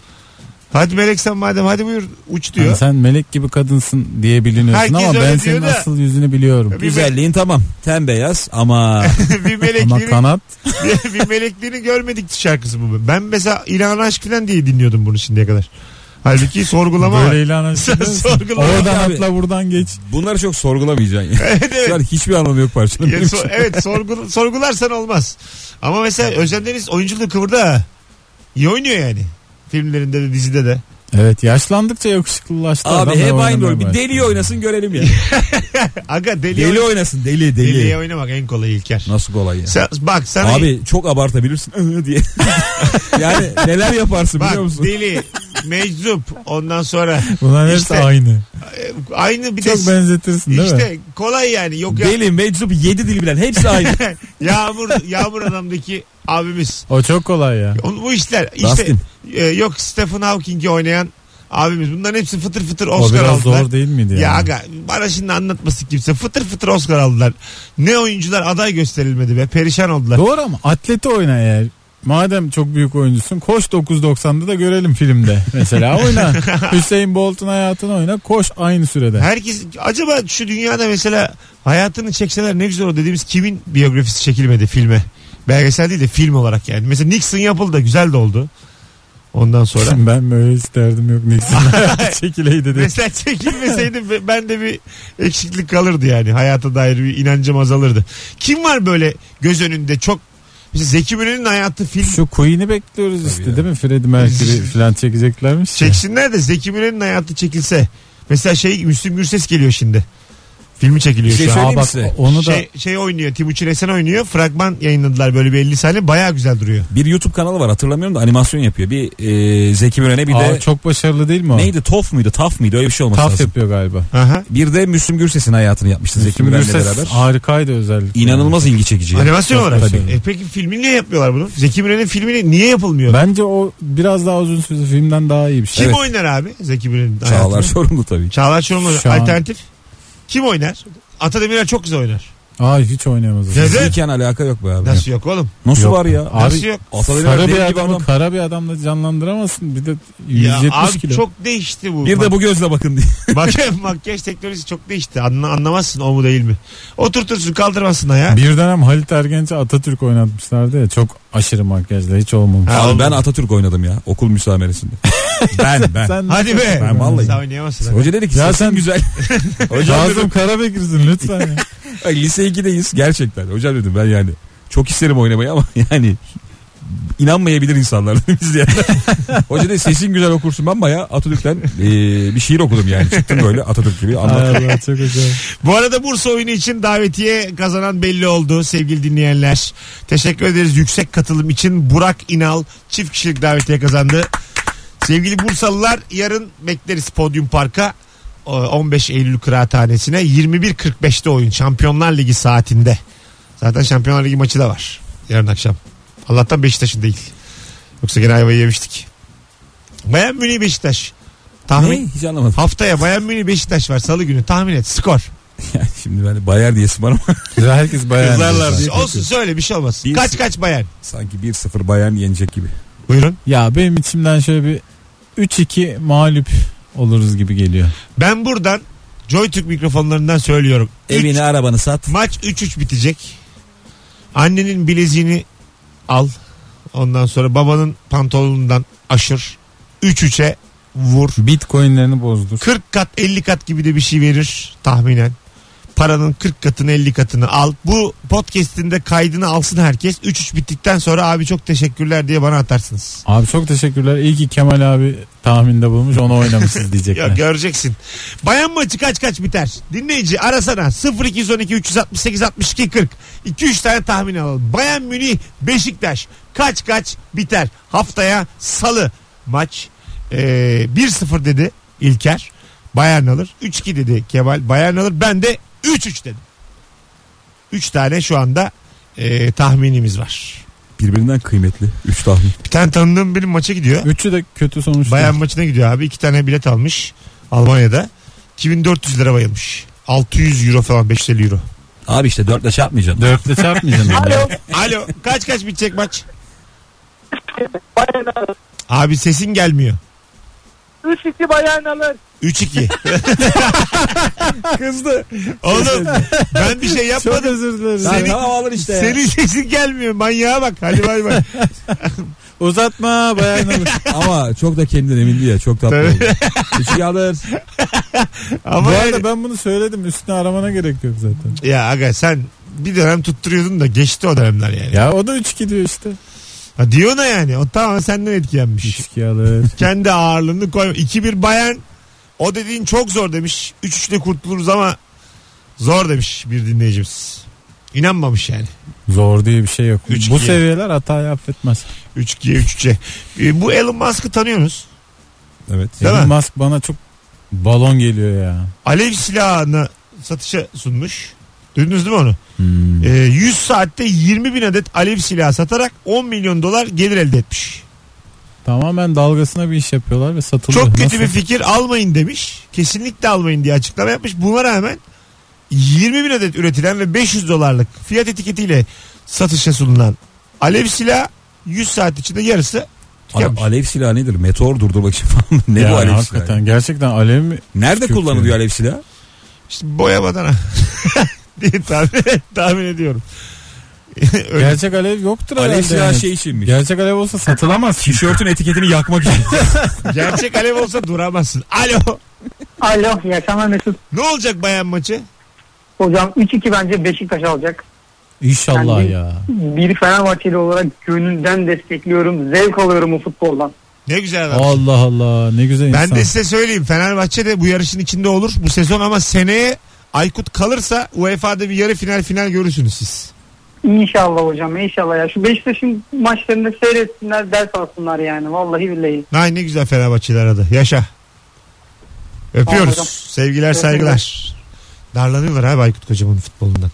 Hadi melek sen madem hadi buyur uç
Yani
Hani
diyor.
Hani sen melek gibi kadınsın diye biliniyorsun
Herkes
ama
öyle
ben
diyor
senin
da-
asıl yüzünü biliyorum.
Bir-
Güzelliğin tamam. Tembeyaz ama
bir
Ama
melekliğini
kanat
bir, bir melekliğini görmedik şarkısı bu. Ben mesela İlhan Aşk falan diye dinliyordum bunu şimdiye kadar. Halbuki sorgulama var.
böyle ilan
Sen
açıyorsun.
sorgulama.
Oradan
Abi.
atla buradan geç.
bunları çok sorgulamayacaksın. Yani.
evet evet.
Şu an hiçbir şey. anlamı yok parçanın.
Ya,
benim
so-
için.
evet sorgul- sorgularsan olmaz. Ama mesela Özlem Deniz oyunculuğu kıvırda ha. İyi oynuyor yani. Filmlerinde de dizide de.
Evet yaşlandıkça yakışıklılaştı.
Abi
adam ve
hep aynı
oynamaya
rol. Bir
başladı.
deli oynasın görelim ya.
Aga deli,
deli oynasın deli deli.
deliye oynamak en kolay İlker.
Nasıl kolay ya.
Sen, hani- bak sana
Abi çok abartabilirsin "Ihı" diye. yani neler yaparsın
bak
biliyor musun?
deli, meczup ondan sonra
Bunlar hepsi
İşte-
aynı.
e, aynı bir de
Çok benzetirsin değil mi?
işte kolay yani yok ya,
Deli, meczup, yedi dil bilen hepsi aynı.
yağmur yağmur adamdaki abimiz.
O çok kolay ya.
Onun, bu işler işte
Dustin.
e, yok Stephen Hawking'i oynayan abimiz. Bunların hepsi fıtır fıtır
O
Oscar
biraz
aldılar.
zor değil miydi yani?
Ya aga bana şimdi anlatması kimse. Fıtır fıtır Oscar aldılar. Ne oyuncular aday gösterilmedi be. Perişan oldular.
Doğru ama atleti oyna eğer. Madem çok büyük oyuncusun koş 9.90'da da görelim filmde. Mesela oyna. Hüseyin Bolt'un hayatını oyna koş aynı sürede.
Herkes acaba şu dünyada mesela hayatını çekseler ne güzel o dediğimiz kimin biyografisi çekilmedi filme? Belgesel değil de film olarak yani. Mesela Nixon yapıldı güzel de oldu. Ondan sonra.
Ben böyle isterdim yok Nixon çekileydi dedi.
mesela çekilmeseydi be- ben de bir eksiklik kalırdı yani. Hayata dair bir inancım azalırdı. Kim var böyle göz önünde çok mesela Zeki Müren'in hayatı film
Şu Queen'i bekliyoruz işte
ya.
değil mi? Freddie Mercury falan çekeceklermiş. ya.
Çeksinler de Zeki Müren'in hayatı çekilse. Mesela şey Müslüm Gürses geliyor şimdi. Filmi çekiliyor
Şey
şu an.
söyleyeyim
Aa, bak,
size.
onu da
Şey, şey oynuyor Timuçin Esen oynuyor. Fragman yayınladılar böyle bir 50 saniye. Baya güzel duruyor.
Bir YouTube kanalı var hatırlamıyorum da animasyon yapıyor. Bir e, Zeki Müren'e bir
Aa,
de
çok başarılı değil mi o?
neydi Tof muydu Taf mıydı öyle bir şey olması
Taf
lazım.
yapıyor galiba.
Aha.
Bir de Müslüm Gürses'in hayatını yapmıştı Zeki
Müslüm
Müren'le
Gürses Hani
beraber.
Harikaydı özellikle.
İnanılmaz ilgi çekici.
Animasyon
çok
olarak.
başarılı.
E peki filmi niye yapmıyorlar bunu? Zeki Müren'in filmini niye yapılmıyor?
Bence o biraz daha uzun süreli filmden daha iyi bir şey.
Kim
Evet.
oynar abi Zeki Müren'in hayatını?
Çağlar sorumlu tabii.
Çağlar Çorumlu.
Şu an-
Alternatif. Kim oynar? Ata Demirer çok güzel oynar.
Aa hiç oynayamaz. o zaman.
Neden?
Zeki'nin alaka yok be abi.
Nasıl yok oğlum?
Nasıl
Yok.
var ya?
Abi,
Nasıl yok?
Atatürk
Sarı
deli
bir
gibi
adamı
adam.
kara bir adamla canlandıramazsın. Bir de
Ya
170
abi
kilo.
çok değişti bu.
Bir de bu gözle bakın diye.
Makyaj, makyaj teknolojisi çok değişti. Anla, anlamazsın o mu değil mi? Oturtursun kaldırmazsın ayağa.
Bir dönem Halit Ergenç'e Atatürk oynatmışlardı ya. Çok aşırı makyajla hiç olmamış.
Ha,
Abi ben
oldu.
Atatürk oynadım ya okul müsameresinde. ben ben.
Sen
Hadi be.
Ben vallahi.
Sen oynayamazsın.
Hoca dedi ki
Ya
sesin
sen-
güzel. Hocam dedim,
Kazım Karabekir'sin lütfen. ya.
Ay, lise 2'deyiz gerçekten. Hocam dedim ben yani çok isterim oynamayı ama yani inanmayabilir insanlar izleyenler. Hoca dedi sesin güzel okursun ben baya Atatürk'ten eee, bir şiir okudum yani. Çıktım böyle Atatürk gibi anlattım.
Allah çok güzel.
Bu arada Bursa oyunu için davetiye kazanan belli oldu sevgili dinleyenler. Teşekkür ederiz yüksek katılım için Burak İnal çift kişilik davetiye kazandı. Sevgili Bursalılar yarın bekleriz Podyum Park'a. O, 15 Eylül Kıraathanesi'ne 21.45'te oyun Şampiyonlar Ligi saatinde. Zaten Şampiyonlar Ligi maçı da var yarın akşam. Allah'tan Beşiktaş'ın değil. Yoksa gene ayvayı yemiştik. Bayan Münih Beşiktaş. Tahmin
Ne? Hiç anlamadım.
haftaya Bayan Münih Beşiktaş var salı günü tahmin et skor.
Yani şimdi ben de Bayer diye sımarım.
Herkes bayağı.
Kızarlar diye.
Olsun söyle bir şey olmaz.
Bir-
kaç kaç bayan.
Sanki 1-0 Bayern yenecek gibi.
Buyurun.
Ya benim içimden şöyle bir 3-2 mağlup oluruz gibi geliyor.
Ben buradan Joytürk mikrofonlarından söylüyorum. Üç-
Evini arabanı sat.
maç 3-3 bitecek. Annenin bileziğini al. Ondan sonra babanın pantolonundan aşır. 3-3'e vur.
Bitcoin'lerini bozdur.
40 kat 50 kat gibi de bir şey verir tahminen. Paranın 40 katını 50 katını al. Bu podcast'inde kaydını alsın herkes. 3-3 bittikten sonra abi çok teşekkürler diye bana atarsınız.
Abi çok teşekkürler. İyi ki Kemal abi tahminde bulmuş. Onu oynamışız
Ya
diyecekler.
göreceksin. Bayan maçı kaç kaç biter? Dinleyici arasana 0212 368 62 40. 2 3 tane tahmin alalım. Bayan Münih Beşiktaş kaç kaç biter? Haftaya salı maç. Ee, 1-0 dedi İlker. Bayern alır. 3-2 dedi Kemal. Bayern alır. Ben de 3-3 dedim. 3 tane şu anda ee, tahminimiz var.
Birbirinden kıymetli. 3 tahmin.
Bir tane tanıdığım benim maça gidiyor.
Üçü de kötü sonuç.
Bayan maçına gidiyor abi. iki tane bilet almış Almanya'da. 2400 lira bayılmış. 600 euro falan 550 euro.
Abi işte 4'le çarpmayacaksın.
Dörtle çarpmayacaksın. yani.
Alo.
Alo kaç kaç bitecek maç? Abi sesin gelmiyor.
3-2 bayan alır.
3-2.
Kızdı.
Oğlum ben bir şey
Çok
yapmadım.
özür dilerim.
Seni-
tamam alır işte.
Senin sesin gelmiyor manyağa bak. Hadi bay bay.
Uzatma bayan alır.
Ama çok da kendinden emindi ya. Çok tatlı
Tabii.
oldu. Üçü alır.
Ama
Bu
yani-
arada ben bunu söyledim. Üstüne aramana gerek yok zaten.
ya aga sen bir dönem tutturuyordun da geçti o dönemler yani.
Ya o da 3-2 diyor işte.
Ha, diyor ne yani? O tamamen senden etkilenmiş.
3-2 alır.
kendi ağırlığını koy. 2-1 Bayern o dediğin çok zor demiş. 3-3 de kurtuluruz ama zor demiş bir dinleyicimiz. İnanmamış yani.
Zor diye bir şey yok.
Üç
Bu
iki.
seviyeler hatayı affetmez.
3-2'ye 3-3'e. E, bu Elon Musk'ı tanıyorsunuz.
Evet.
Değil
Elon
mi?
Musk bana çok balon geliyor ya.
Alev silahını satışa sunmuş. Duydunuz değil mi onu? E, 100 saatte 20 bin adet alev silahı satarak 10 milyon dolar gelir elde etmiş.
Tamamen dalgasına bir iş yapıyorlar ve satılıyor.
Çok kötü
Nasıl?
bir fikir almayın demiş. Kesinlikle almayın diye açıklama yapmış. Buna rağmen 20 bin adet üretilen ve 500 dolarlık fiyat etiketiyle satışa sunulan alev silah 100 saat içinde yarısı
Al-
tükenmiş.
alev silahı nedir? Meteor durdurmak için falan. ne
Yani
bu alev silahı?
hakikaten gerçekten alev mi?
Nerede
Çok
kullanılıyor
yani.
alev silahı?
İşte boya badana diye tahmin, tahmin ediyorum. Öyle.
Gerçek alev yoktur
Alev
herhalde.
silahı
yani.
şey içinmiş.
Gerçek alev olsa satılamaz. çünkü.
Tişörtün etiketini yakmak için.
Gerçek alev olsa duramazsın. Alo.
Alo iyi akşamlar Mesut.
Ne olacak bayan maçı?
Hocam 3-2 bence Beşiktaş alacak.
İnşallah
Kendi-
ya.
Bir Fenerbahçeli olarak gönülden destekliyorum. Zevk alıyorum bu futboldan.
Ne güzel adam.
Allah Allah ne güzel
Ben
insan.
de size söyleyeyim Fenerbahçe de bu yarışın içinde olur bu sezon ama seneye Aykut kalırsa UEFA'da bir yarı final final görürsünüz siz.
İnşallah hocam inşallah ya. Şu Beşiktaş'ın maçlarını seyretsinler ders alsınlar yani. Vallahi billahi.
Ay ne güzel Fenerbahçeli aradı. Yaşa.
Tamam
Öpüyoruz.
hocam.
Sevgiler saygılar. Darlanıyorlar abi Aykut kocamanın futbolundan.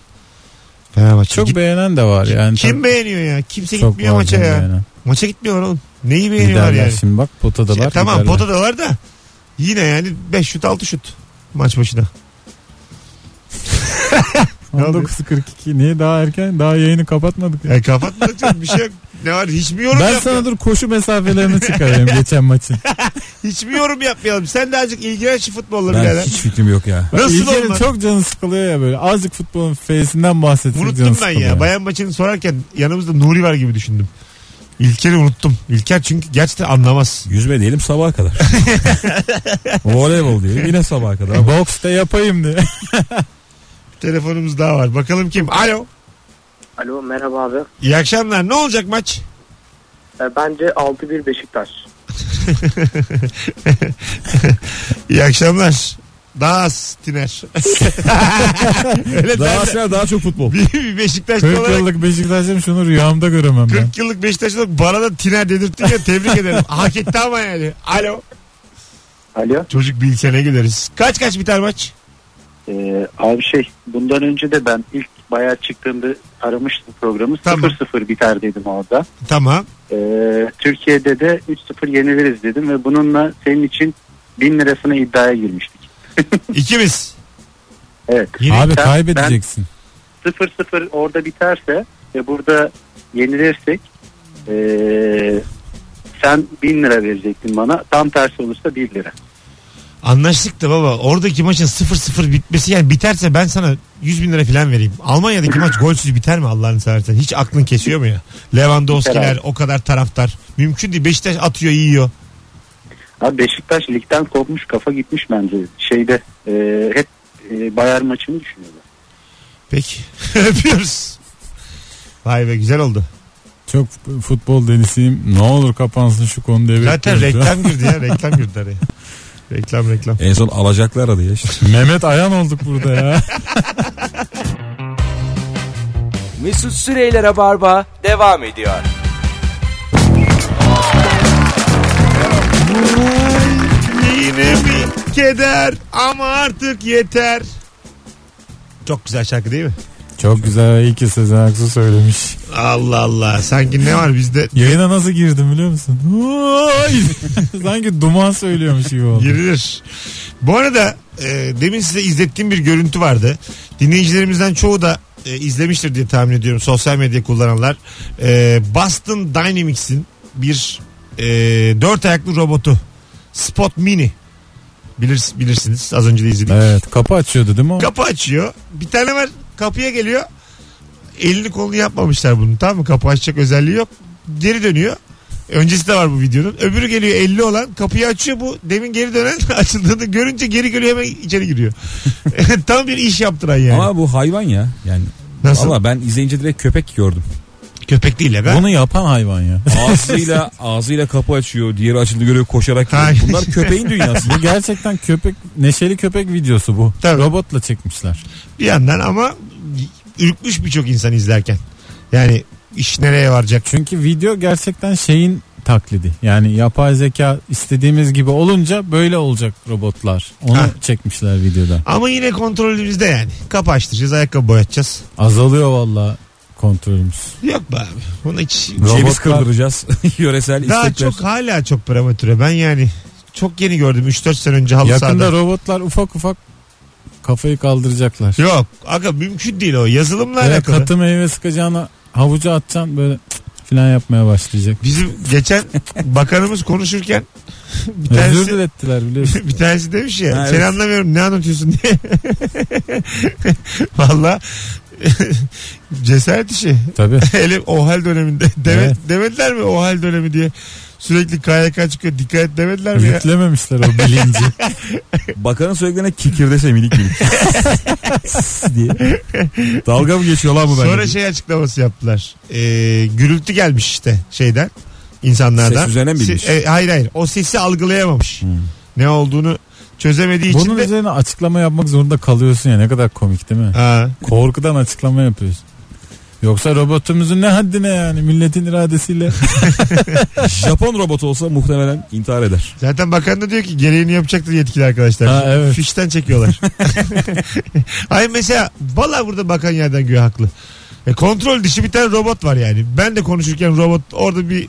Fenerbahçe.
Çok
Git-
beğenen de var yani.
kim beğeniyor ya? Kimse
Çok
gitmiyor
var
maça
canım
şey ya.
beğenen.
Maça gitmiyorlar oğlum. Neyi beğeniyorlar
Giderler
yani?
şimdi bak potadalar.
Şey, tamam
giderler.
potadalar da yine yani 5 şut 6 şut maç başına. Ne oluyor?
19.42 niye daha erken daha yayını kapatmadık. ya.
Yani kapatmadık canım, bir şey yok. Ne var hiç mi yorum
Ben
yapmıyor?
sana dur koşu mesafelerini çıkarayım geçen maçın.
Hiç mi yorum yapmayalım? Sen de azıcık ilgilen şu futbolla
ben
birader.
hiç fikrim yok ya.
Nasıl
İlker'in
olmaz?
çok canı sıkılıyor ya böyle. Azıcık futbolun feysinden bahsetsin canı
Unuttum ben
sıkılıyor.
ya. Bayan maçını sorarken yanımızda Nuri var gibi düşündüm. İlker'i unuttum. İlker çünkü gerçekten anlamaz.
Yüzme diyelim sabaha kadar. Voleybol diyelim yine sabaha kadar. Ama
Boks da E, yapayım diye.
Telefonumuz daha var. Bakalım kim? Alo.
Alo merhaba abi.
İyi akşamlar. Ne olacak maç?
E, bence 6-1 Beşiktaş.
İyi akşamlar. Daha az tiner. Öyle
Daha
derler.
asker daha çok futbol.
Bir- bir Beşiktaşlı
40
olarak
yıllık Beşiktaş'ım şunu rüyamda göremem ben.
40 yıllık Beşiktaşlı olarak bana da tiner dedirttin ya tebrik ederim. Hak etti ama yani. Alo.
Alo.
Çocuk bilsene gideriz. Kaç kaç biter maç?
Ee, abi şey bundan önce de ben ilk bayağı çıktığımda aramıştım programı.
Tamam.
0-0 biter dedim orada.
Tamam.
Ee, Türkiye'de de 3-0 yeniliriz dedim ve bununla senin için 1000 lirasına iddiaya girmiştik.
İkimiz.
Evet.
Yine
Abi
ben-
kaybedeceksin.
0-0 orada biterse ve burada yenilirsek ee, sen 1000 lira verecektin bana. Tam tersi olursa 1 lira.
Anlaştık da baba oradaki maçın 0-0 bitmesi yani biterse ben sana 100 bin lira falan vereyim. Almanya'daki maç golsüz biter mi Allah'ını seversen? Hiç aklın kesiyor mu ya?
Biter
Lewandowski'ler
abi.
o kadar taraftar. Mümkün değil. Beşiktaş atıyor yiyor.
Abi Beşiktaş ligden kopmuş kafa gitmiş bence. Şeyde ee, hep ee, Bayern maçını düşünüyorlar.
Peki. Öpüyoruz. Vay be güzel oldu.
Çok futbol delisiyim. Ne olur kapansın şu konu diye
Zaten
bekliyoruz ya.
reklam girdi ya. Reklam girdi araya. Reklam reklam.
En son alacaklar aradı ya. işte.
Mehmet Ayan olduk burada ya.
Mesut Süreyler'e barba devam ediyor.
Yine bir keder ama artık yeter. Çok güzel şarkı değil mi?
Çok güzel iyi ki Sezen Aksu söylemiş.
Allah Allah. Sanki ne var bizde?
Yayına nasıl girdim biliyor musun? Vay! Sanki duman söylüyormuş gibi oldu.
Girilir. Bu arada e, demin size izlettiğim bir görüntü vardı. Dinleyicilerimizden çoğu da e, izlemiştir diye tahmin ediyorum sosyal medya kullananlar. E, Boston Dynamics'in bir e, dört ayaklı robotu Spot Mini Bilir, bilirsiniz az önce de izledik.
Evet kapı açıyordu değil mi o?
Kapı açıyor. Bir tane var kapıya geliyor. Elini kolunu yapmamışlar bunu tamam mı? Kapı açacak özelliği yok. Geri dönüyor. Öncesi de var bu videonun. Öbürü geliyor 50 olan kapıyı açıyor bu. Demin geri dönen açıldığını görünce geri geliyor hemen içeri giriyor. Tam bir iş yaptıran yani.
Ama bu hayvan ya. Yani
Nasıl?
Valla ben izleyince direkt köpek gördüm.
Köpek değil ya.
Bunu yapan hayvan ya.
Ağzıyla ağzıyla kapı açıyor. Diğeri açıldı görüyor koşarak. geliyor.
Hayır.
Bunlar köpeğin dünyası.
Bu gerçekten köpek neşeli köpek videosu bu.
Tabii.
Robotla çekmişler.
Bir yandan ama ürkmüş birçok insan izlerken. Yani iş nereye varacak?
Çünkü video gerçekten şeyin taklidi. Yani yapay zeka istediğimiz gibi olunca böyle olacak robotlar. Onu
Ha.
çekmişler videoda.
Ama yine kontrolümüzde yani. Kapı açtıracağız, ayakkabı boyatacağız.
Azalıyor valla kontrolümüz.
Yok be abi. Buna hiç
Ceviz
Robotlar-
kırdıracağız. Yöresel
Daha
istekler.
çok hala çok prematüre. Ben yani çok yeni gördüm 3-4 sene önce halı
Yakında
sahada.
robotlar ufak ufak kafayı kaldıracaklar.
Yok aga mümkün değil o yazılımla
Böyle
alakalı.
katı meyve sıkacağına havucu atacaksın böyle cık filan yapmaya başlayacak.
Bizim geçen bakanımız konuşurken bir
Özür
tanesi,
dilettiler biliyorsun.
bir tanesi demiş ya
Ha,
seni
evet.
anlamıyorum ne anlatıyorsun diye. Valla cesaret işi.
Tabii.
Hele o hal döneminde Deme-
Evet.
demediler mi o hal dönemi diye. Sürekli KYK çıkıyor dikkat et demediler mi ya?
Yüklememişler o bilinci.
Bakanın söylediklerine kikirdese minik minik. diye. Dalga mı geçiyor lan bu bence?
Sonra şey açıklaması yaptılar. Ee, gürültü gelmiş işte şeyden insanlardan.
Ses üzerine mi
Se-
bilmiş?
e, hayır hayır. O sesi algılayamamış. Ne olduğunu çözemediği
Bunun
için de
üzerine açıklama yapmak zorunda kalıyorsun ya ne kadar komik değil mi?
Ha,
Korkudan açıklama yapıyorsun. Yoksa robotumuzun ne haddine yani milletin iradesiyle.
Japon robotu olsa muhtemelen intihar eder.
zaten bakan da diyor ki gereğini yapacaktır yetkili arkadaşlar.
Ha, evet.
Fişten çekiyorlar. Hayır mesela valla burada bakan yerden göğe haklı. E, kontrol dışı bir tane robot var yani. Ben de konuşurken robot orada bir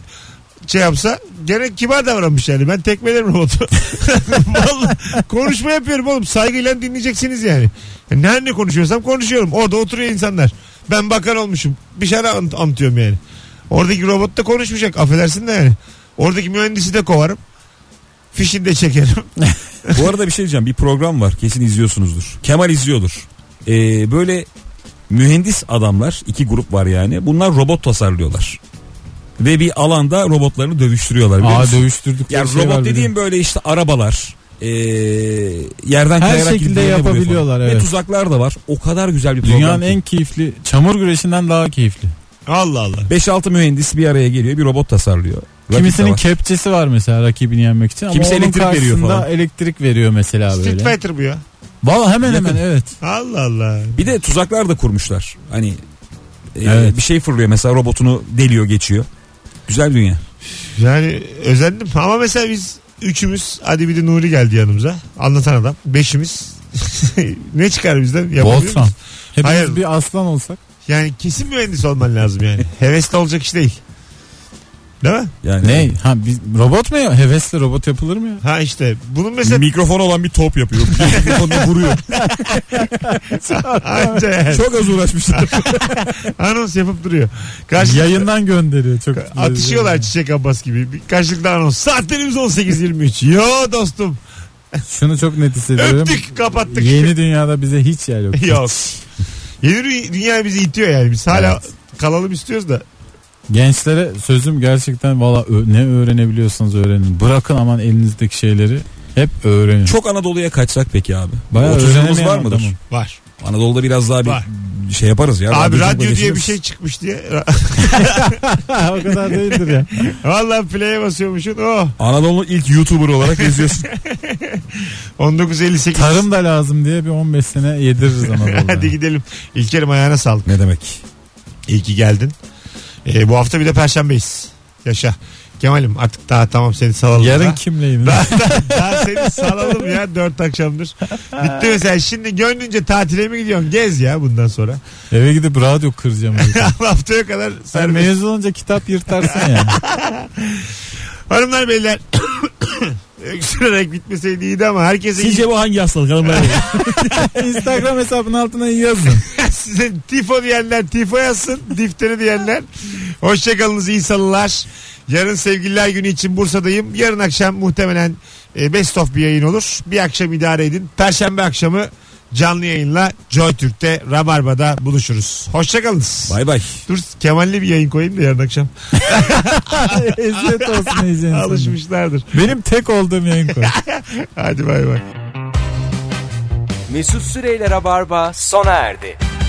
şey yapsa gene kibar davranmış yani. Ben tekmelerim robotu. Vallahi konuşma yapıyorum oğlum. Saygıyla dinleyeceksiniz yani. E, Ne ne konuşuyorsam konuşuyorum. Orada oturuyor insanlar. Ben bakan olmuşum. Bir şeyler an- anlatıyorum yani. Oradaki robot da konuşmayacak. Affedersin de yani. Oradaki mühendisi de kovarım. Fişini de çekerim.
Bu arada bir şey diyeceğim. Bir program var. Kesin izliyorsunuzdur. Kemal izliyordur. Ee, böyle mühendis adamlar iki grup var yani. Bunlar robot tasarlıyorlar. Ve bir alanda robotlarını dövüştürüyorlar. biliyor
Aa
musun?
dövüştürdük.
Ya
diye şey var
robot
bir de.
dediğim böyle işte arabalar ee, yerden
Her
kayarak
şekilde
birbirlerini vuruyor falan.
yapabiliyorlar,
Ve
evet.
tuzaklar da var. O kadar güzel bir program.
Dünyanın
ki.
en keyifli çamur güreşinden daha keyifli.
Allah Allah.
5-6 mühendis bir araya geliyor bir robot tasarlıyor. Rakip
Kimisinin
savaş.
kepçesi var mesela rakibini yenmek için.
Kimisi
Ama onun
elektrik veriyor
karşısında
falan.
elektrik veriyor mesela
Street
böyle.
Fighter bu ya.
Valla hemen hemen
Yakın.
evet.
Allah Allah.
Bir de tuzaklar da kurmuşlar. Hani e,
Evet.
bir şey fırlıyor mesela robotunu deliyor geçiyor. Güzel bir dünya.
Yani özendim. Ama mesela biz üçümüz hadi bir de Nuri geldi yanımıza. Anlatan adam. Beşimiz. ne çıkar bizden? Yapabiliyor musun?
Voltran. Hepimiz
Hayır.
bir aslan olsak.
Yani kesin mühendis olman lazım yani. Hevesli olacak iş değil. Değil mi?
Yani
Ne? Ha biz, robot mu ya? Hevesle robot yapılır mı ya?
Ha işte. Bunun mesela
Mikrofon olan bir top yapıyor. Mikrofonla vuruyor.
anca yani.
Çok az uğraşmışlar.
anons yapıp duruyor. Karşılıklı
Yayından gönderiyor çok.
atışıyorlar Çiçek Abbas gibi. Bir Karşılıklı anons. Saatlerimiz 18.23. Yo dostum.
Şunu çok net hissediyorum.
Öptük kapattık.
Yeni dünyada bize hiç yer yok.
Yok. Yeni dü- dünya bizi itiyor yani. Biz hala kalalım istiyoruz da.
Gençlere sözüm gerçekten valla ö- ne öğrenebiliyorsanız öğrenin. Bırakın aman elinizdeki şeyleri hep öğrenin.
Çok Anadolu'ya kaçsak peki abi.
Bayağı
Otuzumuz
öğrenemeyen
var mıdır?
adamım.
Var.
Anadolu'da biraz daha bir
Var.
şey yaparız ya.
Abi
Radyocukla
radyo diye
geçiniriz.
bir şey çıkmış diye.
Ha, o kadar değildir ya.
Vallahi play'e basıyormuşsun. Oh.
Anadolu'nun ilk YouTuber olarak yazıyorsun.
1958.
Tarım da lazım diye bir 15 sene yediririz Anadolu'ya.
Hadi gidelim. İlker'im ayağına sağlık.
ne demek?
İyi ki geldin. Ee, bu hafta bir de perşembeyiz. Yaşa. Kemal'im artık daha tamam seni salalım.
Yarın
Daha-
kimleyim?
Daha seni salalım ya dört akşamdır. Bitti mesela şimdi gönlünce tatile mi gidiyorsun? Gez ya bundan sonra.
Eve gidip radyo kıracağım.
Haftaya kadar
Sen
serbest.
mezun olunca kitap yırtarsın yani.
Hanımlar beyler. Öksürerek bitmeseydi iyiydi ama herkese iyi.
Sizce bu hangi hastalık hanımlar?
Instagram hesabının altına yazın.
Size tifo diyenler tifo yazsın. Difteri diyenler. Hoşçakalınız iyi salılar. Yarın sevgililer günü için Bursa'dayım. Yarın akşam muhtemelen e, best of bir yayın olur. Bir akşam idare edin. Perşembe akşamı canlı yayınla Joy Türk'te Rabarba'da buluşuruz. Hoşçakalınız.
Bay bay.
Dur Kemal'le bir yayın koyayım da yarın akşam.
Eziyet olsun iyice.
Alışmışlardır.
Benim tek olduğum yayın koy.
Hadi bay bay.
Mesut Süreyler'e barba sona erdi.